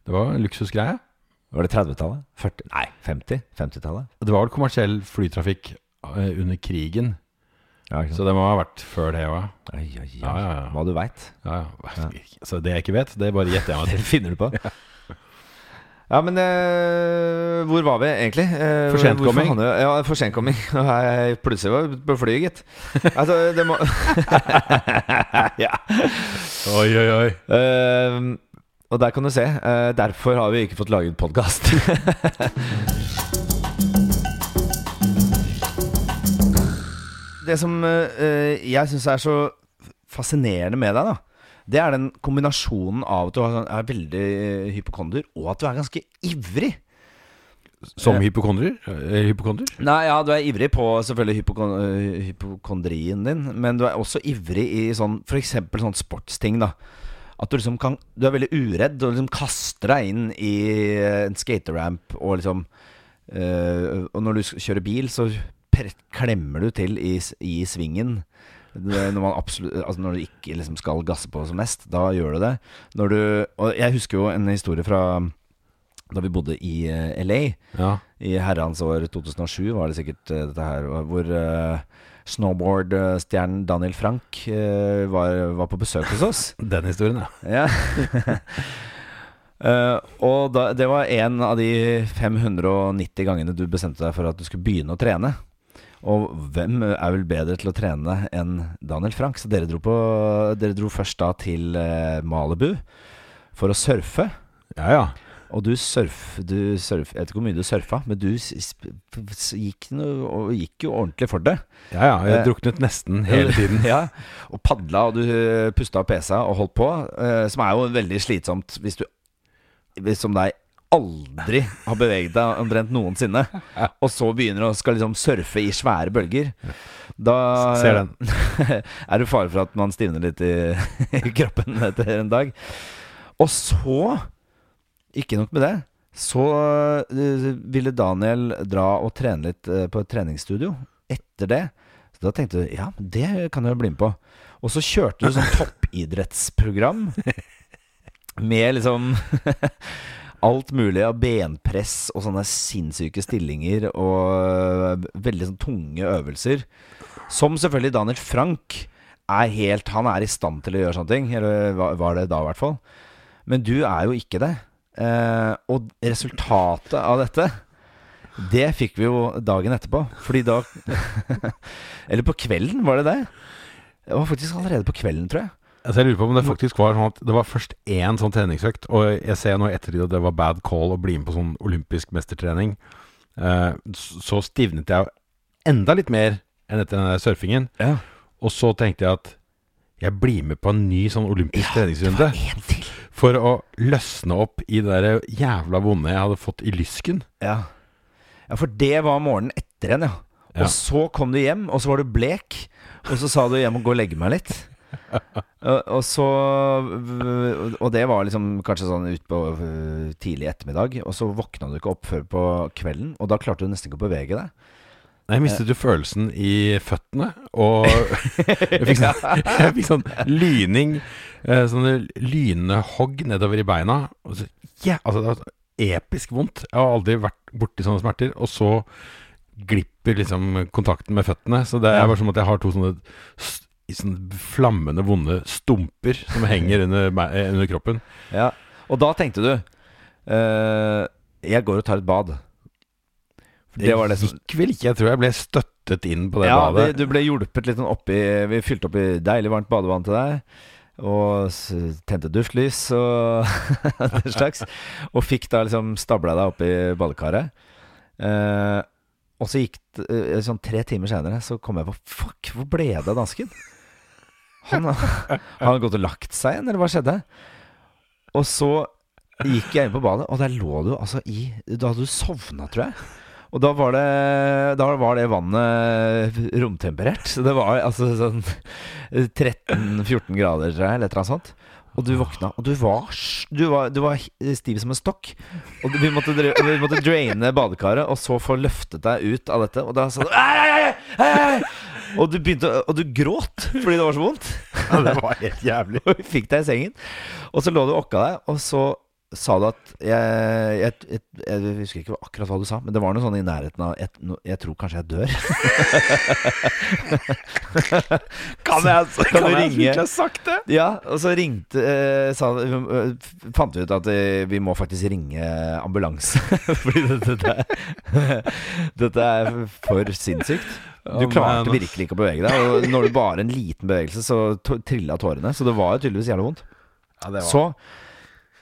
Speaker 1: Det var en luksusgreie.
Speaker 2: Var det 30-tallet? 40 Nei, 50? 50-tallet?
Speaker 1: Det var vel kommersiell flytrafikk eh, under krigen,
Speaker 2: Ja, ikke sant?
Speaker 1: så det må ha vært før det òg.
Speaker 2: Oi, oi, oi.
Speaker 1: Ja, ja, ja.
Speaker 2: Hva du veit. (laughs)
Speaker 1: Ja, ja. (laughs) Så det jeg ikke vet, det bare gjetter jeg meg til.
Speaker 2: Det finner du på. Ja, men eh, hvor var vi egentlig? Eh,
Speaker 1: For sentkomming.
Speaker 2: hvorfor handler- Ja, for sentkomming. (laughs) Nå er jeg Plutselig var jeg på flyet, gitt. Altså, det må (laughs) Ja.
Speaker 1: (laughs) Oi, oi, oi.
Speaker 2: Eh, og der kan du se. Eh, derfor har vi ikke fått laget podkast. (laughs) det som eh, jeg syns er så fascinerende med deg, da, det er den kombinasjonen av at du sånn, er veldig eh, hypokonder, og at du er ganske ivrig.
Speaker 1: Som hypokondrer? Eh, Hypokonder?
Speaker 2: Nei, ja, du er ivrig på selvfølgelig hypokon øh, hypokondrien din, men du er også ivrig i sånn f.eks. sånn sportsting, da. At du liksom kan Du er veldig uredd og liksom kaster deg inn i eh, en skateramp og liksom øh, Og når du sk- kjører bil, så pre- klemmer du til i, s- i svingen. Det- Når, man absolutt, altså når du ikke liksom skal gasse på som mest, da gjør du det. Når du, og jeg husker jo en historie fra da vi bodde i eh, LA.
Speaker 1: Ja.
Speaker 2: I herrens år 2007 var det sikkert eh, dette her, og hvor eh, snowboardstjernen Daniel Frank eh, var, var på besøk hos oss. (laughs)
Speaker 1: Den historien, ja.
Speaker 2: Ja. (laughs) Eh, og da, det var en av de 590 gangene du bestemte deg for at du skulle begynne å trene. Og hvem er vel bedre til å trene enn Daniel Frank? Så dere dro, på, dere dro først da til eh, Malibu for å surfe.
Speaker 1: Ja, ja.
Speaker 2: Og du surf, du surf Jeg vet ikke hvor mye du surfa, men du s- s- s- gikk, noe, og gikk jo ordentlig for det.
Speaker 1: ja, ja.
Speaker 2: Eh,
Speaker 1: Jeg druknet nesten hele tiden.
Speaker 2: ja, Og padla, og du pusta og pesa og holdt på. eh, som er jo veldig slitsomt hvis du hvis som deg aldri har beveget deg omtrent noensinne, og så begynner du å skal liksom surfe i svære bølger. Da
Speaker 1: Ser den.
Speaker 2: (laughs) er det fare for at man stivner litt i, (laughs) i kroppen etter en dag. Og så, ikke nok med det, så eh, ville Daniel dra og trene litt eh, på et treningsstudio etter det. Så da tenkte du ja, det kan jeg jo bli med på. Og så kjørte du
Speaker 1: (laughs)
Speaker 2: sånn toppidrettsprogram med liksom alt mulig av benpress og sånne sinnssyke stillinger og eh, veldig sånn tunge øvelser. Som selvfølgelig Daniel Frank er helt Han er i stand til å gjøre sånne ting. Eller hva- var det da, i hvert fall. Men du er jo ikke det. Eh, og resultatet av dette det fikk vi jo dagen etterpå. Fordi da (laughs) Eller på kvelden, var det det? Det var faktisk allerede på kvelden, tror jeg.
Speaker 1: Altså jeg lurer på om det faktisk var sånn at det var først én sånn treningsøkt, og jeg ser nå i ettertid at det var bad call å bli med på sånn olympisk mestertrening. Eh, s- Så stivnet jeg enda litt mer enn etter den der surfingen,
Speaker 2: Ja.
Speaker 1: og så tenkte jeg at jeg blir med på en ny sånn olympisk treningsrunde
Speaker 2: En til.
Speaker 1: for å løsne opp i det der jævla vonde jeg hadde fått i lysken.
Speaker 2: Ja. ja, for det var morgenen etter en, ja.
Speaker 1: Ja.
Speaker 2: Og så kom du hjem, og så var du blek. Og så sa du 'jeg må gå og legge meg litt'. Og, og så Og det var liksom kanskje sånn utpå tidlig ettermiddag. Og så våkna du ikke opp før på kvelden, og da klarte du nesten ikke å bevege deg.
Speaker 1: Jeg mistet jo følelsen i føttene, og jeg fikk sånn, (laughs) jeg fikk sånn lyning eh, Sånne lynhogg nedover i beina. Og så, ja, altså, det var episk vondt. Jeg har aldri vært borti sånne smerter. Og så glipper liksom kontakten med føttene. Så det er bare som at jeg har to sånne, s- i sånne flammende, vonde stumper som henger under, meg- eh, under kroppen.
Speaker 2: Ja. Og da tenkte du eh, Jeg går og tar et bad. For Det var det som
Speaker 1: gikk vel ikke. Jeg tror jeg ble støttet inn på det
Speaker 2: ja,
Speaker 1: badet.
Speaker 2: Vi, du ble hjulpet litt sånn oppi Vi fylte opp i deilig varmt badevann til deg. Og s- tente duftlys og (laughs) den slags. Og fikk da liksom stabla deg opp i badekaret. Eh, og så gikk det eh, sånn tre timer senere, så kom jeg på Fuck, hvor ble det av dansken? Han (laughs) har han gått og lagt seg igjen, eller hva skjedde? Og så gikk jeg inn på badet, og der lå du altså i Da hadde du sovna, tror jeg. Og da var det, da var det vannet romtemperert. Så det var altså sånn 13-14 grader, tror jeg, eller et eller annet sånt. Og du våkna, og du var, s- du var, du var stiv som en stokk. Og vi måtte, dra- vi måtte draine badekaret, og så få løftet deg ut av dette. Og da sa du «Ei, ei, ei, ei, ei!» Og du begynte å- Og du gråt fordi det var så vondt.
Speaker 1: Ja, det var (laughs) helt jævlig.
Speaker 2: Og (laughs) vi fikk deg i sengen. Og så lå du og okka deg, og så sa du at jeg, jeg, jeg, jeg husker ikke akkurat hva du sa, men det var noe sånn i nærheten av Jeg, no- jeg tror kanskje jeg dør. (laughs) kan jeg Kan du ringe?
Speaker 1: sagt det?
Speaker 2: Ja, og så ringte eh, sa, eh, Fant vi ut at eh, vi må faktisk ringe ambulanse. (laughs) Fordi dette, er- (laughs) dette er for sinnssykt. Du
Speaker 1: Å,
Speaker 2: klarte
Speaker 1: man.
Speaker 2: virkelig ikke å bevege deg. Og når du bare en liten bevegelse, så to- trilla tårene. Så det var jo tydeligvis jævlig vondt.
Speaker 1: Ja, det var
Speaker 2: Så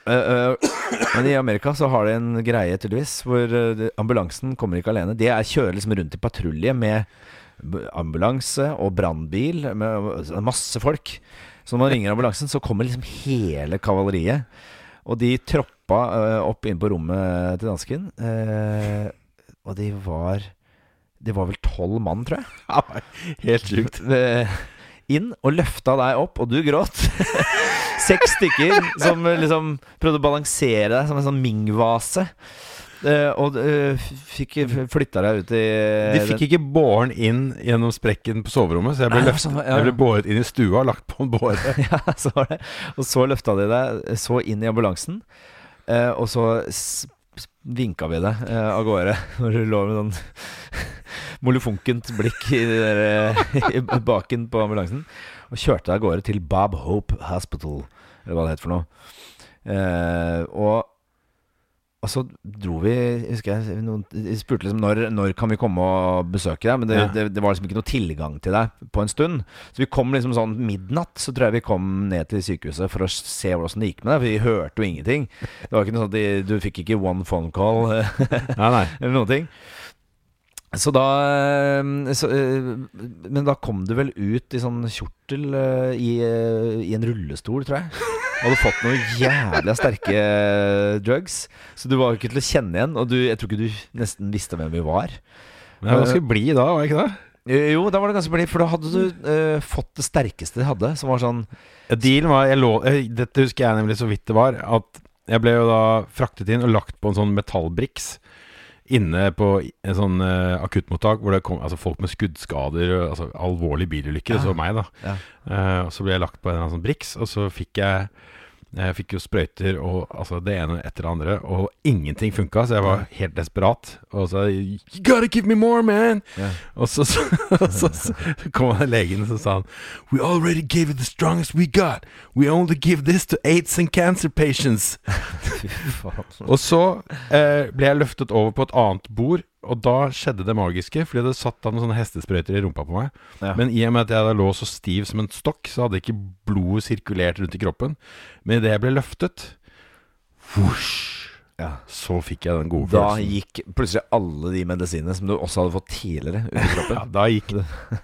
Speaker 2: øh, øh, Men i Amerika så har de en greie, tydeligvis, hvor øh, det- ambulansen kommer ikke alene. De er, kjører liksom rundt i patrulje med b- ambulanse og brannbil, med- med med masse folk. Så når man ringer ambulansen, så kommer liksom hele kavaleriet. Og de troppa øh, opp inn på rommet til dansken, øh, og de var De var vel tolv mann, tror jeg.
Speaker 1: (laughs) helt sjukt.
Speaker 2: Eh, Inn og løfta deg opp, og du gråt. (laughs) Seks stykker som eh, liksom prøvde å balansere deg som en sånn Ming-vase. Eh, og eh, f- fikk flytta deg ut i
Speaker 1: De fikk ikke båren inn gjennom sprekken på soverommet, så jeg ble,
Speaker 2: Nei, det var
Speaker 1: løftet,
Speaker 2: sånn, ja.
Speaker 1: jeg ble båret inn i stua og lagt på en båre.
Speaker 2: (laughs) ja, så var det. Og så løfta de deg så inn i ambulansen, eh, og så s- s- vinka vi deg eh, av gårde (laughs) når du lå med sånn (laughs) molefonkent blikk i, det der, eh, (laughs) i baken på ambulansen, og kjørte deg av gårde til Bob Hope Hospital, eller hva det heter for noe. Eh, og og så dro vi husker jeg, noen, jeg spurte liksom når, når kan vi komme og besøke deg, men det,
Speaker 1: Ja.
Speaker 2: det, det var liksom ikke noe tilgang til deg på en stund. Så vi kom liksom sånn midnatt, så tror jeg vi kom ned til sykehuset for å se hvordan det gikk med deg. For vi hørte jo ingenting. Det var ikke noe sånn at de, du fikk ikke one phone call eh,
Speaker 1: (laughs) Nei, nei.
Speaker 2: eller noen ting. Så da eh, så, eh, Men da kom du vel ut i sånn kjortel eh, i, eh, i en rullestol, tror jeg. Hadde fått noen jævla sterke eh, drugs, så du var jo ikke til å kjenne igjen. Og du, jeg tror ikke du nesten visste hvem vi var.
Speaker 1: Men jeg var ganske blid da, var jeg ikke det?
Speaker 2: Eh, Jo, da var det ganske blid, for da hadde du eh, fått det sterkeste de hadde, som var sånn
Speaker 1: Ja, Dealen var jeg lå, eh, Dette husker jeg nemlig så vidt det var, at jeg ble jo da fraktet inn og lagt på en sånn metallbriks inne på en sånn eh, akuttmottak hvor det kom altså folk med skuddskader, og, altså alvorlig bilulykke, det
Speaker 2: Ja.
Speaker 1: så meg, da.
Speaker 2: Ja.
Speaker 1: Eh, og så ble jeg lagt på en eller annen sånn briks, og så fikk jeg jeg fikk jo sprøyter og altså det ene etter det andre, og ingenting funka, så jeg var helt desperat. Og så You gotta give me more, man!
Speaker 2: Ja.
Speaker 1: Og så, (laughs) så, så, så kom han legen og så sa han We already gave you the strongest we got. We only give this to aids and cancer patients.
Speaker 2: (laughs) Fy faen.
Speaker 1: Og så eh, ble jeg løftet over på et annet bord, og da skjedde det magiske. Fordi det satt da noen sånne hestesprøyter i rumpa på meg.
Speaker 2: Ja.
Speaker 1: Men i og med at jeg da lå så stiv som en stokk, så hadde ikke blodet sirkulert rundt i kroppen. Men idet jeg ble løftet, vosj,
Speaker 2: Ja.
Speaker 1: så fikk jeg den gode
Speaker 2: Da
Speaker 1: følelsen.
Speaker 2: gikk plutselig alle de medisinene som du også hadde fått tidligere, ut i
Speaker 1: (laughs)
Speaker 2: kroppen.
Speaker 1: Ja, da gikk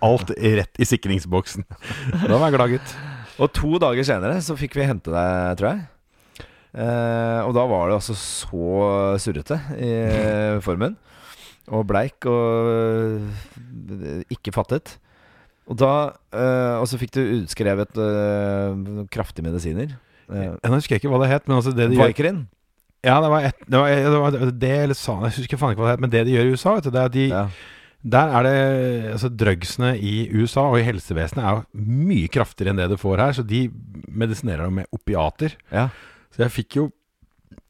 Speaker 1: alt rett i
Speaker 2: (laughs)
Speaker 1: sikringsboksen. Da var jeg glad, gutt.
Speaker 2: Og to dager senere så fikk vi hente deg, tror jeg. Eh, og da var det altså så surrete
Speaker 1: (laughs)
Speaker 2: i formen. Og bleik og eh, ikke fattet. Og, da, eh, og så fikk du utskrevet eh, noen kraftige medisiner. Eh,
Speaker 1: Jeg husker jeg ikke hva det het, men altså det de gjør
Speaker 2: Vicodin.
Speaker 1: Ja, det var, et, det, var, det, var det eller sa Jeg husker faen ikke hva det het, men det de gjør i USA, vet du, det er at de
Speaker 2: Ja.
Speaker 1: Der er det altså Drugsene i USA og i helsevesenet er jo mye kraftigere enn det du får her, så de medisinerer deg med opiater.
Speaker 2: Ja.
Speaker 1: Så jeg fikk jo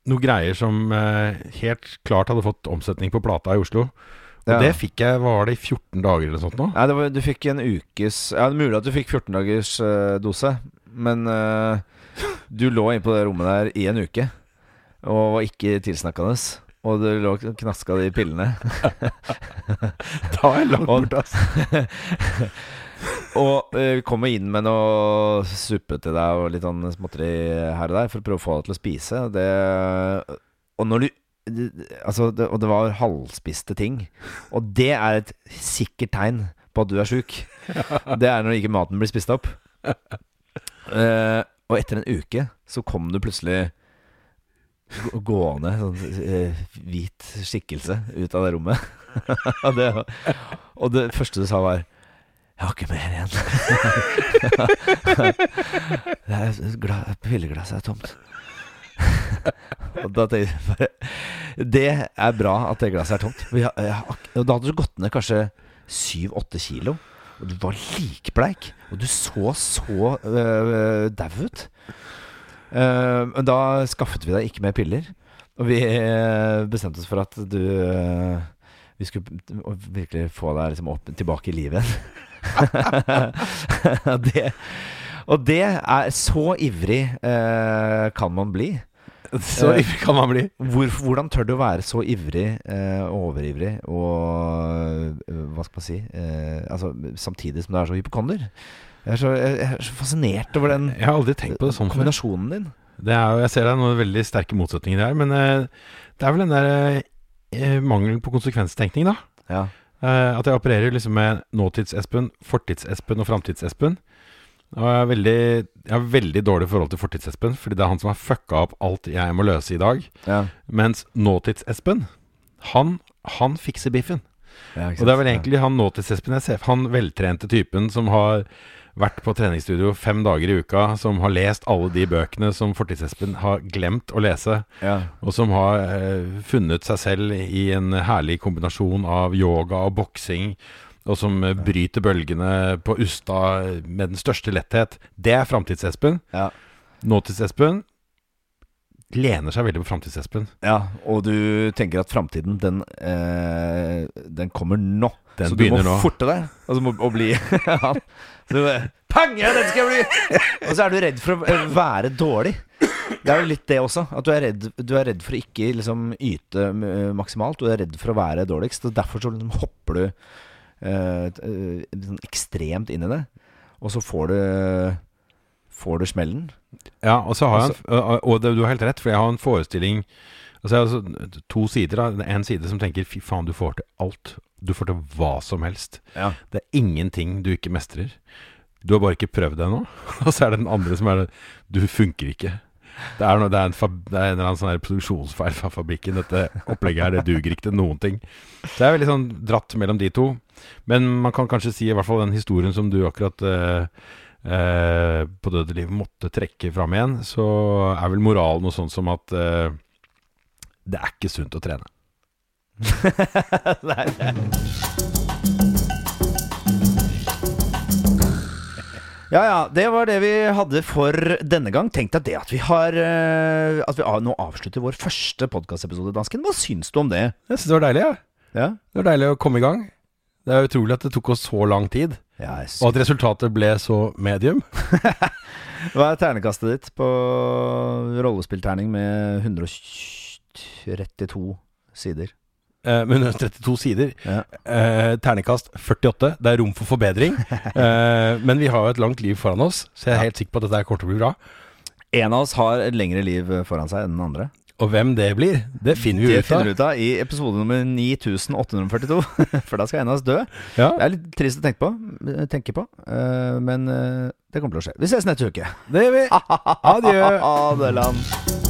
Speaker 1: noe greier som eh, helt klart hadde fått omsetning på plata i Oslo. Og
Speaker 2: Ja.
Speaker 1: det fikk jeg, hva var det, i 14 dager eller noe sånt nå?
Speaker 2: Nei, det var, du fikk en ukes Ja, det er mulig at du fikk 14 dagers eh, dose, men eh, du lå inne på det rommet der i en uke og var ikke tilsnakkende. Og du lå og knaska de pillene.
Speaker 1: (laughs) Da er jeg langt
Speaker 2: Og-
Speaker 1: borte, ass.
Speaker 2: (laughs) Og eh, vi kom jo inn med noe suppe til deg og litt sånn småtteri her og der for å prøve å få deg til å spise. Det, og når du Altså, det, og det var halvspiste ting. Og det er et sikkert tegn på at du er sjuk. Det er når ikke maten blir spist opp. Eh, og etter en uke så kom du plutselig gå- gående, sånn eh, hvit skikkelse, ut av det rommet. (laughs) og, det, og det første du sa, var jeg har ikke mer igjen. (laughs) det er et gla- Pilleglasset er tomt. (laughs) og da tenkte jeg bare Det er bra at det glasset er tomt. For Jeg, jeg, har ak- og da hadde du gått ned kanskje syv-åtte kilo. Og du var likbleik. Og du så så øh, dau ut. Eh, Men da skaffet vi deg ikke mer piller. Og vi eh, bestemte oss for at du eh, Vi skulle p- å virkelig få deg liksom opp, tilbake i livet igjen. (laughs) det, og det er Så ivrig eh, kan man bli.
Speaker 1: Så ivrig kan man bli.
Speaker 2: Hvor, hvordan tør du å være så ivrig, eh, overivrig og eh, Hva skal man si? Eh, altså, samtidig som du er så hypokonder. Jeg er så, jeg er så fascinert over den
Speaker 1: Jeg har aldri tenkt på det sånn før.
Speaker 2: kombinasjonen din.
Speaker 1: Det er, jo- jeg ser det er noen veldig sterke motsetninger her, men eh, det er vel den der eh, mangelen på konsekvenstenkning, da.
Speaker 2: Ja.
Speaker 1: Eh, at jeg opererer liksom med nåtids-Espen, fortids-Espen og framtids-Espen. Og jeg har veldig, jeg har veldig dårlig forhold til fortids-Espen, fordi det er han som har fucka opp alt jeg må løse i dag.
Speaker 2: Ja,
Speaker 1: Mens nåtids-Espen, han, han fikser biffen. Og det er vel egentlig han nåtids-Espen jeg ser Han veltrente typen som har vært på treningsstudio fem dager i uka, som har lest alle de bøkene som fortids-Espen har glemt å lese.
Speaker 2: ja.
Speaker 1: Og som har eh, funnet seg selv i en herlig kombinasjon av yoga og boksing. Og som eh, bryter bølgene på Usta med den største letthet. Det er framtids-Espen.
Speaker 2: Ja.
Speaker 1: Nåtids-Espen lener seg veldig på framtids-Espen.
Speaker 2: ja, og du tenker at framtiden, den, eh, den kommer nå.
Speaker 1: Den
Speaker 2: så du må
Speaker 1: begynner nå.
Speaker 2: forte deg og så må, og bli (laughs) han. Så du bare, Pang! Ja, den skal jeg bli! Og så er du redd for å eh, være dårlig. Det er jo litt det også. At du er redd, du er redd for å ikke liksom, yte eh, maksimalt. Du er redd for å være dårligst. Og derfor så liksom, hopper du eh, t- eh, sånn ekstremt inn i det. Og så får du, eh, får du smellen.
Speaker 1: Ja, og så har jeg en, og- og det, du har helt rett, for jeg har en forestilling Altså, jeg har altså to sider. da En side som tenker 'fy faen, du får til alt'. Du får til hva som helst.
Speaker 2: Ja.
Speaker 1: Det er ingenting du ikke mestrer. Du har bare ikke prøvd det ennå. (laughs) Og så er det den andre som er det, Du funker ikke. Det er, noe, det, er en fab, det er en eller annen sånn her produksjonsfeil fra fabrikken. Dette opplegget her, det duger ikke til noen ting. Så det er veldig sånn dratt mellom de to. Men man kan kanskje si i hvert fall den historien som du akkurat eh, eh, på døde liv måtte trekke fram igjen, så er vel moralen noe sånt som at eh, det er ikke sunt å trene.
Speaker 2: Nei, nei. (laughs) Ja, ja. Det var det vi hadde for denne gang. Tenk deg det at vi har eh, At vi av- nå avslutter vår første podkastepisode, dansken. Hva syns du om det?
Speaker 1: Jeg syns det var deilig, ja.
Speaker 2: Ja,
Speaker 1: Det var deilig å komme i gang. Det er utrolig at det tok oss så lang tid,
Speaker 2: jeg syns-
Speaker 1: og at resultatet ble så medium.
Speaker 2: Hva er ternekastet ditt på rollespillterning med 132 sider?
Speaker 1: Eh, med 132 sider.
Speaker 2: Ja.
Speaker 1: Eh, ternekast 48. Det er rom for
Speaker 2: (laughs)
Speaker 1: forbedring. Eh, men vi har jo et langt liv foran oss, så jeg er helt sikker på at dette her kommer til å bli bra.
Speaker 2: En av oss har et lengre liv foran seg enn den andre.
Speaker 1: Og hvem det blir, det finner vi
Speaker 2: Det
Speaker 1: ut
Speaker 2: finner
Speaker 1: av.
Speaker 2: du ut av i episode nummer 9842, (laughs) for da skal en av oss dø.
Speaker 1: Ja.
Speaker 2: Det er litt trist å tenke på, tenke på (laughs) eh, men eh, det kommer til å skje. Vi ses neste uke.
Speaker 1: Det gjør vi. Adjø.
Speaker 2: Adeland.